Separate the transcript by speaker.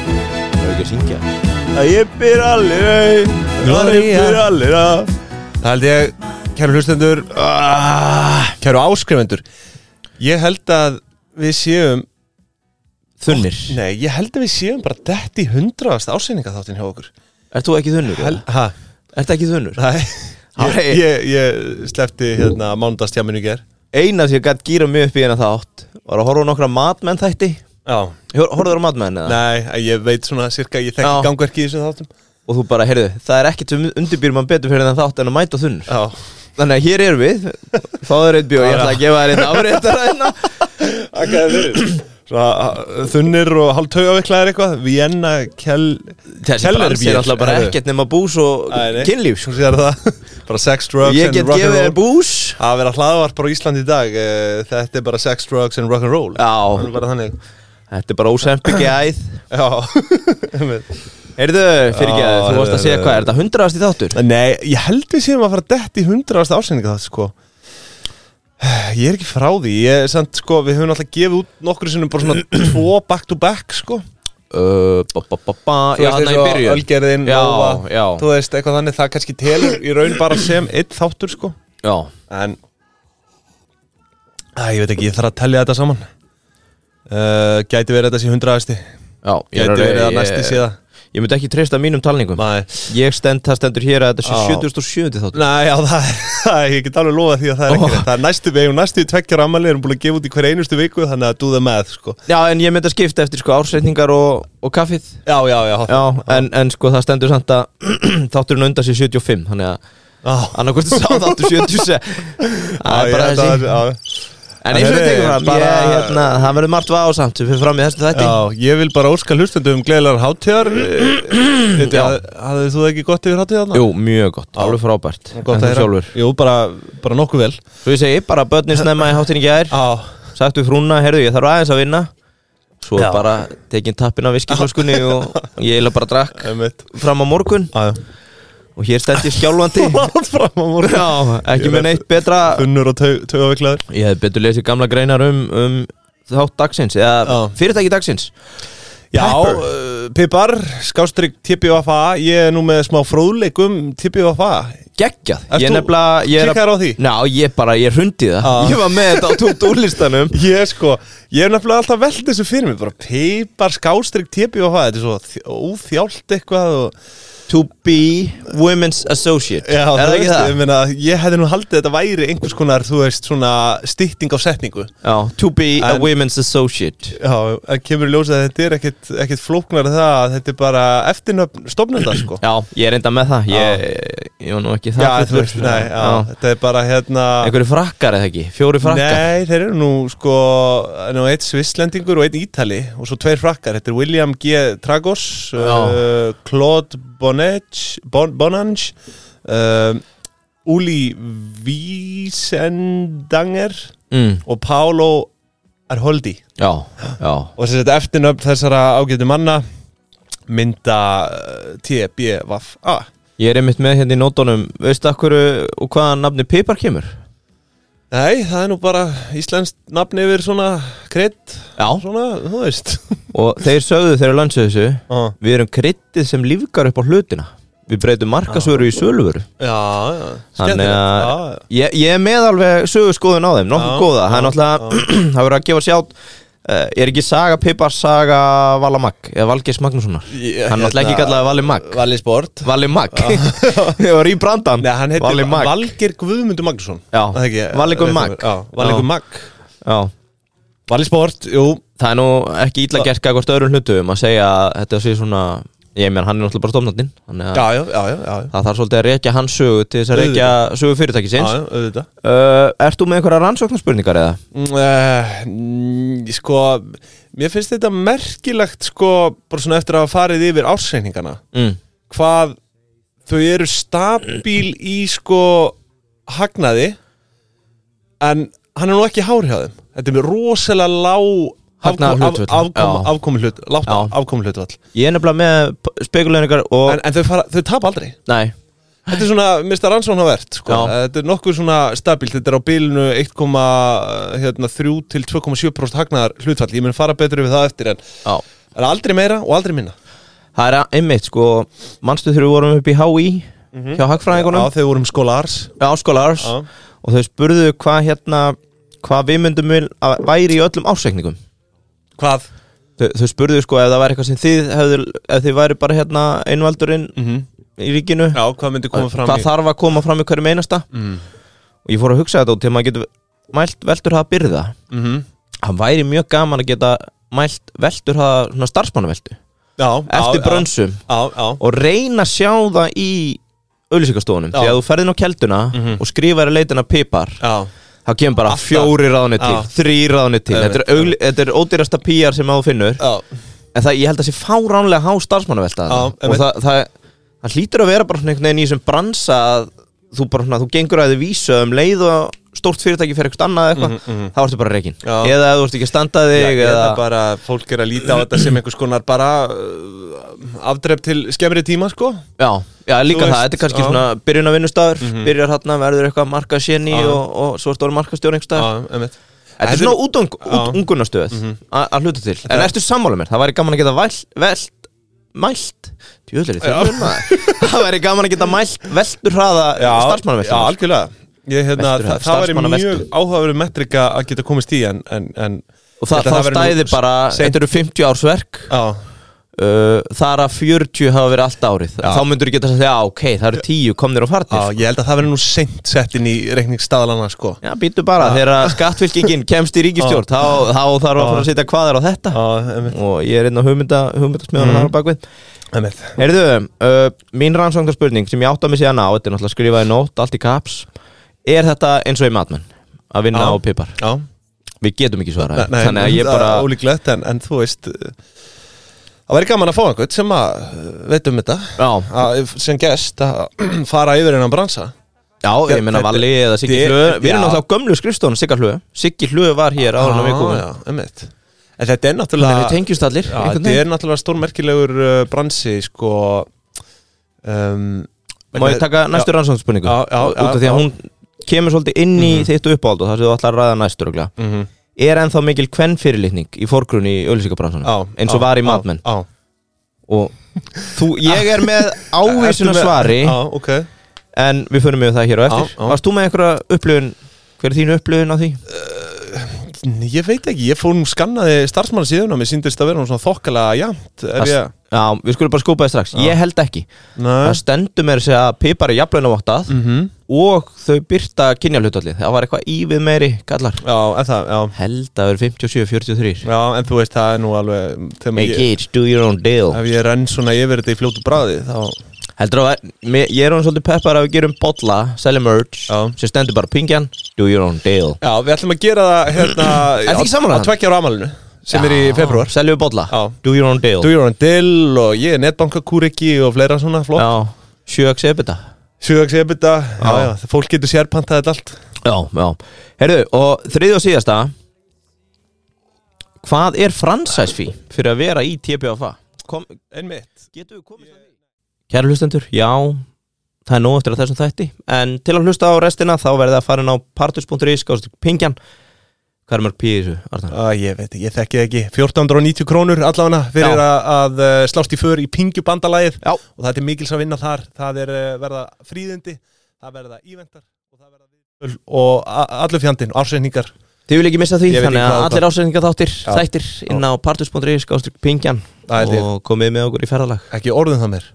Speaker 1: ekki að syngja
Speaker 2: að ég byr allir au, að ég byr allir af
Speaker 1: Það held ég, kæru hlustendur ah, Kæru áskrifendur Ég held að við séum
Speaker 2: Þunnir
Speaker 1: Nei, ég held að við séum bara dett í hundraðast ásynninga þáttinn hjá okkur
Speaker 2: Ert þú ekki þunnur? Hel...
Speaker 1: Hæ?
Speaker 2: Ert ekki þunnur?
Speaker 1: Nei Ég,
Speaker 2: Nei.
Speaker 1: ég, ég slefti hérna mándastjáminu ger
Speaker 2: Eina sem ég gætt gýra mig upp í hérna þátt var að horfa á nokkra matmenn þætti
Speaker 1: Já
Speaker 2: Horfaður á matmenn eða?
Speaker 1: Nei, að ég veit svona cirka, ég
Speaker 2: Já.
Speaker 1: þekki gangverki í þessum þáttum
Speaker 2: Og þú bara, heyrðu, það er ekkert sem undirbýr mann betur fyrir þann þátt en að mæta þunnur
Speaker 1: Já
Speaker 2: Þannig að hér erum við, fáður eitt bjóð, ég ætla að gefa þér einn áreitar að hérna
Speaker 1: Akkaði fyrir Svona uh, þunnir og hálftauaviklaðir eitthvað Vienna, Kell
Speaker 2: Þessi
Speaker 1: Keller
Speaker 2: brans
Speaker 1: bjór,
Speaker 2: er alltaf bara
Speaker 1: heyrðu.
Speaker 2: ekkert nema bús og
Speaker 1: Æ, nei.
Speaker 2: kynlíf sko.
Speaker 1: Svo sér það Bara sex, drugs
Speaker 2: Ég
Speaker 1: and
Speaker 2: get gefið
Speaker 1: rock'n'roll
Speaker 2: þér bús
Speaker 1: Að vera hlaðvarp á Íslandi í dag eh, Þetta er bara sex, drugs and rock'n'roll Það
Speaker 2: Já,
Speaker 1: er bara þannig
Speaker 2: þetta er bara ósempingi æð
Speaker 1: Já einmitt.
Speaker 2: Heyrðu, fyrir ekki að
Speaker 1: Já,
Speaker 2: þú varst að segja
Speaker 1: heyrðu,
Speaker 2: hvað, er þetta hundraðast í þáttur?
Speaker 1: Nei, ég held við séum að fara dett í hundraðast ásynninga það sko Ég er ekki frá því Ég er samt sko, við höfum alltaf gefið út nokkru sinnum bara svona tvo back to back sko
Speaker 2: Uh, ba, ba, ba, ba. Já, hann í byrjun
Speaker 1: Ölgerðin,
Speaker 2: Já,
Speaker 1: Nova,
Speaker 2: já.
Speaker 1: þú veist, eitthvað þannig Það kannski telur í raun bara sem eitt þáttur sko
Speaker 2: Já,
Speaker 1: En Æ, ég veit ekki, ég þarf að tellja þetta saman uh, Gæti verið þetta sé hundraðasti
Speaker 2: já ég er
Speaker 1: Gæti
Speaker 2: alveg-
Speaker 1: verið að
Speaker 2: ég-
Speaker 1: næsti sé það
Speaker 2: Ég myndi ekki treysta mínum talningum
Speaker 1: Nei,
Speaker 2: Ég stend, það stendur hér að þetta
Speaker 1: Já.
Speaker 2: sé 77. þáttur
Speaker 1: Nei, já, það er, það er- ég get alveg lofa því að það er ekki
Speaker 2: Ó.
Speaker 1: rétt. Það er næstu, við eigum næstu í tveggjur ammali, erum búin að gefa út í hver einustu viku, þannig að do the math, sko.
Speaker 2: Já, en ég myndi að skipta eftir sko ársreitningar og, og kaffið
Speaker 1: Já, já, já.
Speaker 2: Já, en, en sko það stendur samt að þátturinn undan sé 75 Þannig að
Speaker 1: já.
Speaker 2: annarkvort sá þáttur 76 Það er bara þessi
Speaker 1: ég- það er- já.
Speaker 2: En eins og við
Speaker 1: Heyrðu,
Speaker 2: tekum fram, bara...
Speaker 1: bara-
Speaker 2: ég, hérna, það verður margt vásamt sem fyrir fram í þessu þætti
Speaker 1: Já, ég vil bara óska hlustendum um gleðilegar hátíðar Þetta,
Speaker 2: Já.
Speaker 1: hafðu þú það ekki gott yfir hátíðarna?
Speaker 2: Jú, mjög gott, alveg frábært
Speaker 1: gott
Speaker 2: En
Speaker 1: að
Speaker 2: þú
Speaker 1: heyra
Speaker 2: sjálfur
Speaker 1: Jú, bara, bara nokkuð vel
Speaker 2: Svo ég segi, bara börnin snemma í hátinn í gær
Speaker 1: Já,
Speaker 2: Sagt við frúna, heyrðu, ég þarf aðeins að vinna Svo
Speaker 1: Já.
Speaker 2: bara tekin tappin af viskiflöskunni og ég eila bara drakk
Speaker 1: einmitt
Speaker 2: fram á morgun
Speaker 1: Já, já
Speaker 2: Og hér stend ég skjálfandi
Speaker 1: Látt fram á morgun
Speaker 2: Já, ekki
Speaker 1: Ég
Speaker 2: með
Speaker 1: veit-
Speaker 2: neitt betra
Speaker 1: Þunnur og tau- taugaviklaður
Speaker 2: Ég hef betur lesið gamla greinar um, um þátt dagsins eða
Speaker 1: Já.
Speaker 2: fyrirtæki dagsins
Speaker 1: Já,
Speaker 2: Pepper.
Speaker 1: uh, Pippar, skástrygg TPVFA Ég er nú með smá um fróðleikum TPVFA
Speaker 2: Geggjað
Speaker 1: Ert
Speaker 2: Ég
Speaker 1: þú-
Speaker 2: nefnilega ég er
Speaker 1: klikkaðir á því?
Speaker 2: Ná, ég bara, ég hrundi það
Speaker 1: Já.
Speaker 2: Ég var með þetta á tútúrlistanum
Speaker 1: Ég er sko, ég er nefnilega alltaf velt þessu fyrir mér bara Pippar, skástrygg TPVFA Þetta er svo þj- óþjált eitthvað og
Speaker 2: To be women's associate
Speaker 1: Já,
Speaker 2: Er það ekki
Speaker 1: veist,
Speaker 2: það?
Speaker 1: Ég, meina, ég hefði nú haldið að þetta væri einhvers konar, þú veist, svona stytting á setningu
Speaker 2: Já, to be a
Speaker 1: En-
Speaker 2: women's associate
Speaker 1: Já, en kemur í ljósið að þetta er ekkit, ekkit flóknar það að þetta er bara eftirnöfn stofnenda, sko
Speaker 2: Já, ég er enda með það Ég, ég var nú ekki það
Speaker 1: Já, þú
Speaker 2: fullur.
Speaker 1: veist, nei, já,
Speaker 2: Já.
Speaker 1: þetta er bara hérna
Speaker 2: Einhverju frakkar eða ekki? Fjóri frakkar
Speaker 1: Nei, þeir eru nú sko nú, eitt svisslendingur og einn ítali og svo tveir frakkar, þetta er William G. Tragos uh,
Speaker 2: Já.
Speaker 1: Claude Bonage bon, Bonange uh, Uli Wiesendanger
Speaker 2: mm,
Speaker 1: og Pálo Arholdi
Speaker 2: Já, já
Speaker 1: og þess að eftirnöfn þessara ágætu manna mynda uh, TBVA
Speaker 2: Ég er einmitt með hérna í nótunum Veistu akkur og hvaðan nafni Pipar kemur?
Speaker 1: Nei, það er nú bara íslenskt nafn yfir svona kredd,
Speaker 2: Já,
Speaker 1: svona, þú veist
Speaker 2: og þeir sögðu þegar landsuðu þessu
Speaker 1: Já,
Speaker 2: Við erum kryttið sem lífgar upp á hlutina Við breytum markasvöru í söluvöru
Speaker 1: já,
Speaker 2: Þannig að
Speaker 1: já, já.
Speaker 2: ég, ég er með alveg sögurskoðun á þeim Nokkuð
Speaker 1: Já,
Speaker 2: góða, það er
Speaker 1: já,
Speaker 2: náttúrulega Það verður að gefa sjátt uh, Er ekki Saga Pippar Saga Valamag Eða Valgeis Magnússonar
Speaker 1: Ég-
Speaker 2: Hann er náttúrulega ekki
Speaker 1: hérna-
Speaker 2: kallaði Vali Mag
Speaker 1: Valli Sport
Speaker 2: Vali Mag Ég var í brandan
Speaker 1: Nei, hann heitir
Speaker 2: Vali Mag
Speaker 1: Valgir Guðmundur Magnússon
Speaker 2: Já,
Speaker 1: Er það ekki?
Speaker 2: Valli Guð
Speaker 1: Rétt
Speaker 2: Mag.
Speaker 1: hjá mér. Já, Valli
Speaker 2: Já.
Speaker 1: Guð Mag
Speaker 2: Já
Speaker 1: Valli Sport, jú
Speaker 2: Það er nú ekki ítla gert Gagvart öðrum hlutum að segja að Þetta sé svona Ég menn hann er náttúrulega bara stofnandinn Þannig að
Speaker 1: Já, já, já, já, já,
Speaker 2: Það þarf svolítið að rekja hans sögu til þess að
Speaker 1: Auðvitað.
Speaker 2: rekja sögu fyrirtækisins
Speaker 1: já, auðvitað
Speaker 2: uh, Ert þú með einhverja rannsóknarspurningar eða?
Speaker 1: Uh, sko, mér finnst þetta merkilegt sko, bara svona eftir að hafa farið yfir ársreikningana
Speaker 2: Mm.
Speaker 1: hvað þau eru stabíl í sko hagnaði en hann er nú ekki hár hjá þeim þetta er með rosalega lág
Speaker 2: Hagnaðarhlutföll,
Speaker 1: afkom,
Speaker 2: já.
Speaker 1: afkomi hlut, lágt
Speaker 2: Já.
Speaker 1: afkomi hlutvall
Speaker 2: Ég er nefnilega með spekulegningar og
Speaker 1: en, en þau, fara, þau tapa aldrei
Speaker 2: Nei,
Speaker 1: þetta er svona, mista rannsóna verðt sko.
Speaker 2: Já.
Speaker 1: þetta er nokkuð svona stabílt, þetta er á bilinu 1,3 til 2,7% hagnaðar hlutvall, ég mun fara betur yfir það eftir en,
Speaker 2: já
Speaker 1: en aldrei meira og aldrei minna
Speaker 2: Það er að- einmitt, sko, manstu þegar við vorum upp í HÍ hjá
Speaker 1: Mhm. Já,
Speaker 2: hagfræðingunum,
Speaker 1: þegar við vorum skólars
Speaker 2: já, áskólaðars
Speaker 1: Já.
Speaker 2: og þau spurðu hvað hérna, hvað við myndum vil að væri í öllum ársreikningum.
Speaker 1: Hvað?
Speaker 2: Þau, þau spurðu sko ef það væri eitthvað sem þið hefðu, ef þið væri bara hérna einvaldurinn í ríkinu,
Speaker 1: Já, hvað myndi koma
Speaker 2: Mhm.
Speaker 1: fram
Speaker 2: hvað
Speaker 1: í?
Speaker 2: þarf að koma fram í hverjum einasta?
Speaker 1: Mm.
Speaker 2: Og ég fór að hugsa þetta út til maður getur mælt veldur hafa byrða.
Speaker 1: Mm
Speaker 2: Það væri mjög gaman að geta mælt veldur hafa svona starfsmannaveldu
Speaker 1: Já,
Speaker 2: eftir
Speaker 1: já,
Speaker 2: brönsum
Speaker 1: Já, já,
Speaker 2: og reyna að sjá það í auðlýsingastofunum
Speaker 1: Já. Mhm.
Speaker 2: því að þú ferðin á kelduna og skrifar í leitina pipar
Speaker 1: já
Speaker 2: þá kemur bara
Speaker 1: Alltaf.
Speaker 2: fjóri ráðni til,
Speaker 1: Já.
Speaker 2: þrý ráðni til
Speaker 1: Einmitt,
Speaker 2: þetta er, augl, þetta er ódýrasta PR sem að þú finnur
Speaker 1: Já,
Speaker 2: en það, ég held að sé fáránlega há starfsmannavelta
Speaker 1: Já,
Speaker 2: þarna. og
Speaker 1: einmitt.
Speaker 2: það, það, það hlýtur að vera bara svona einhvern veginn í þessum bransa að þú bara svona, þú gengur að þið vísu um leið og stórt fyrirtæki fyrir eitthvað annað eitthvað, þá ertu bara reikin
Speaker 1: Mhm, Já.
Speaker 2: eða ef þú ert ekki að standa þig
Speaker 1: já
Speaker 2: eða,
Speaker 1: eða bara fólk er að líta á þetta sem einhvers konar bara uh, afdref til skemmri tíma sko
Speaker 2: já, já, líka það,
Speaker 1: Þú veist,
Speaker 2: þetta er kannski
Speaker 1: já. Mhm.
Speaker 2: svona byrjun að vinnustafur, byrjar hérna verður eitthvað markaðsjenni
Speaker 1: Já.
Speaker 2: og, og svo ertu orðin markaðstjóringstafur
Speaker 1: Já, einmitt
Speaker 2: Þetta er svona útung, út,
Speaker 1: Já. Mhm.
Speaker 2: ungunastöð að að hluta til, en ertu sammála mér það væri gaman að geta væl, velt mælt, tjóðlega
Speaker 1: Já.
Speaker 2: það væri gaman að geta mælt veltur hraða
Speaker 1: Já,
Speaker 2: starfsmannaveltur
Speaker 1: algjörlega Ég, hérna,
Speaker 2: Veltur,
Speaker 1: það, það væri mjög
Speaker 2: starfsmannaveltur.
Speaker 1: áhugaverið metrika að geta komist í en, en, en
Speaker 2: og það,
Speaker 1: Þetta-
Speaker 2: það
Speaker 1: það væri nú
Speaker 2: stæði bara,
Speaker 1: seint.
Speaker 2: þetta eru 50 árs verk
Speaker 1: Já,
Speaker 2: uh, þar að 40 hafa verið allt árið
Speaker 1: Já.
Speaker 2: þá myndur þú geta að segja, já ok, það eru 10 komnir og
Speaker 1: já,
Speaker 2: farnir
Speaker 1: ég held að það verður nú seint sett inn í reikningsstaðalana sko
Speaker 2: Já, býtu bara, þegar skattfylkingin kemst í ríkistjórn þá, þá þarf að fara að setja hvaðar á þetta
Speaker 1: Já, Mhm. einmitt,
Speaker 2: og ég er einn á hugmynda, hugmyndasmiðan mm. þar á bakvið
Speaker 1: einmitt
Speaker 2: Heyrðu, uh, mín rannsóknarspurning sem ég átta mig síðan á, þetta er náttúrulega skrifaði nótt, allt í kaps Er þetta eins og í matmenn? Að vinna á
Speaker 1: Já.
Speaker 2: pipar?
Speaker 1: Já,
Speaker 2: Við getum ekki svarað
Speaker 1: nei,
Speaker 2: Þannig að ég bara,
Speaker 1: það er Ólíklegt, en, en þú veist uh, Það væri gaman að fá einhvern sem að uh, veit um þetta
Speaker 2: já,
Speaker 1: að, sem gest að fara yfir innan bransa
Speaker 2: já, ég meina
Speaker 1: Þetta-
Speaker 2: Valli eða Siggi
Speaker 1: Þið-
Speaker 2: Hlöð Við erum
Speaker 1: já.
Speaker 2: náttúrulega á gömlu skrifstónu Sigga Hlöð Siggi Hlöð var hér ára á viku
Speaker 1: Já, já, einmitt En þetta er náttúrulega
Speaker 2: Þannig við tengjumst allir
Speaker 1: Já,
Speaker 2: einhvern
Speaker 1: þetta
Speaker 2: veginn.
Speaker 1: er náttúrulega stórmerkilegur uh, bransi sko um,
Speaker 2: Má ég taka næstu rannsóknarspurningu?
Speaker 1: Já, já, já,
Speaker 2: Út af því
Speaker 1: já. Mhm.
Speaker 2: að hún kemur svolítið inn í þitt uppáhald og það sem þú ætlar að ræða næstur örugglega.
Speaker 1: mm -hmm.
Speaker 2: Er ennþá mikil kvenn fyrirlitning í forgrunni í auðlýsingabransunum eins og var í matmenn
Speaker 1: Já,
Speaker 2: og þú, ég er með ávísun að
Speaker 1: Ertu með-
Speaker 2: um svari
Speaker 1: já, ok
Speaker 2: en við förum við það hér á eftir
Speaker 1: Já, já.
Speaker 2: Varst þú með einhverja upplöfun, hver er þín upplöfun á því?
Speaker 1: Nei, Ég veit ekki, ég fór nú skannaði starfsmann síðan og mér síndist að vera nú svona þokkalega jæmt ef
Speaker 2: Það-
Speaker 1: ég
Speaker 2: Já, við skulum bara skópa það strax, ég held ekki
Speaker 1: Nei
Speaker 2: Það stendur mér að segja að pipar er jafnlaunavottað
Speaker 1: mm
Speaker 2: og þau byrta kynjalhutallið það var eitthvað ívið meiri kallar
Speaker 1: Já, en það, já
Speaker 2: Held að vera 57-43
Speaker 1: Já, en þú veist, það er nú alveg þegar
Speaker 2: Make
Speaker 1: ég,
Speaker 2: it, do your own deal
Speaker 1: Ef ég renn svona yfir þetta í fljótu bræði þá
Speaker 2: Heldur að, mér- ég er hún svolítið peppar að við gerum bolla, selja merch
Speaker 1: Já.
Speaker 2: sem stendur bara pingjan, do your own deal
Speaker 1: Já, við ætlum að gera það hérna
Speaker 2: Ertu ekki sammála
Speaker 1: á, á
Speaker 2: hann?
Speaker 1: tveggja ára amalinu sem er í
Speaker 2: Já.
Speaker 1: februar
Speaker 2: Seljum við bolla,
Speaker 1: Já.
Speaker 2: do your own deal
Speaker 1: Do your own deal og ég er netbankakúriki og fleira svona flott E
Speaker 2: Já, sjöaks ebita
Speaker 1: Sjögags ebita, já, já, það fólk getur sérpantað þetta allt
Speaker 2: Já, já Herðu, og þriði og síðasta Hvað er fransæsfí fyrir að vera í TPFA? Kom,
Speaker 1: Einmitt
Speaker 2: getum við komist að því? Kæra hlustendur, já Það er nóg eftir að þessum þætti En til að hlusta á restina þá verðið að fara inn á partus.is Gáðstu pingjan Hvað er mörg pí í þessu, Arnar?
Speaker 1: Æ, ég veit, ekki, ég þekki það ekki 1490 krónur allavega fyrir
Speaker 2: Já.
Speaker 1: að, að eh, slást í för í pingjubandalagið
Speaker 2: Já.
Speaker 1: og það er mikils að vinna þar það er eh, verða fríðindi það verða íventar og það verða viðtöl og a- allur fjandinn, ársreiningar
Speaker 2: Þið vil ekki missa því,
Speaker 1: Ég veit ekki
Speaker 2: þannig að
Speaker 1: hvað-
Speaker 2: allir ásendinga þáttir
Speaker 1: Já.
Speaker 2: Þættir inn á partus.is Gáðstu pingjan
Speaker 1: Það er
Speaker 2: Og komið með okkur í ferðalag
Speaker 1: ekki orðum það mér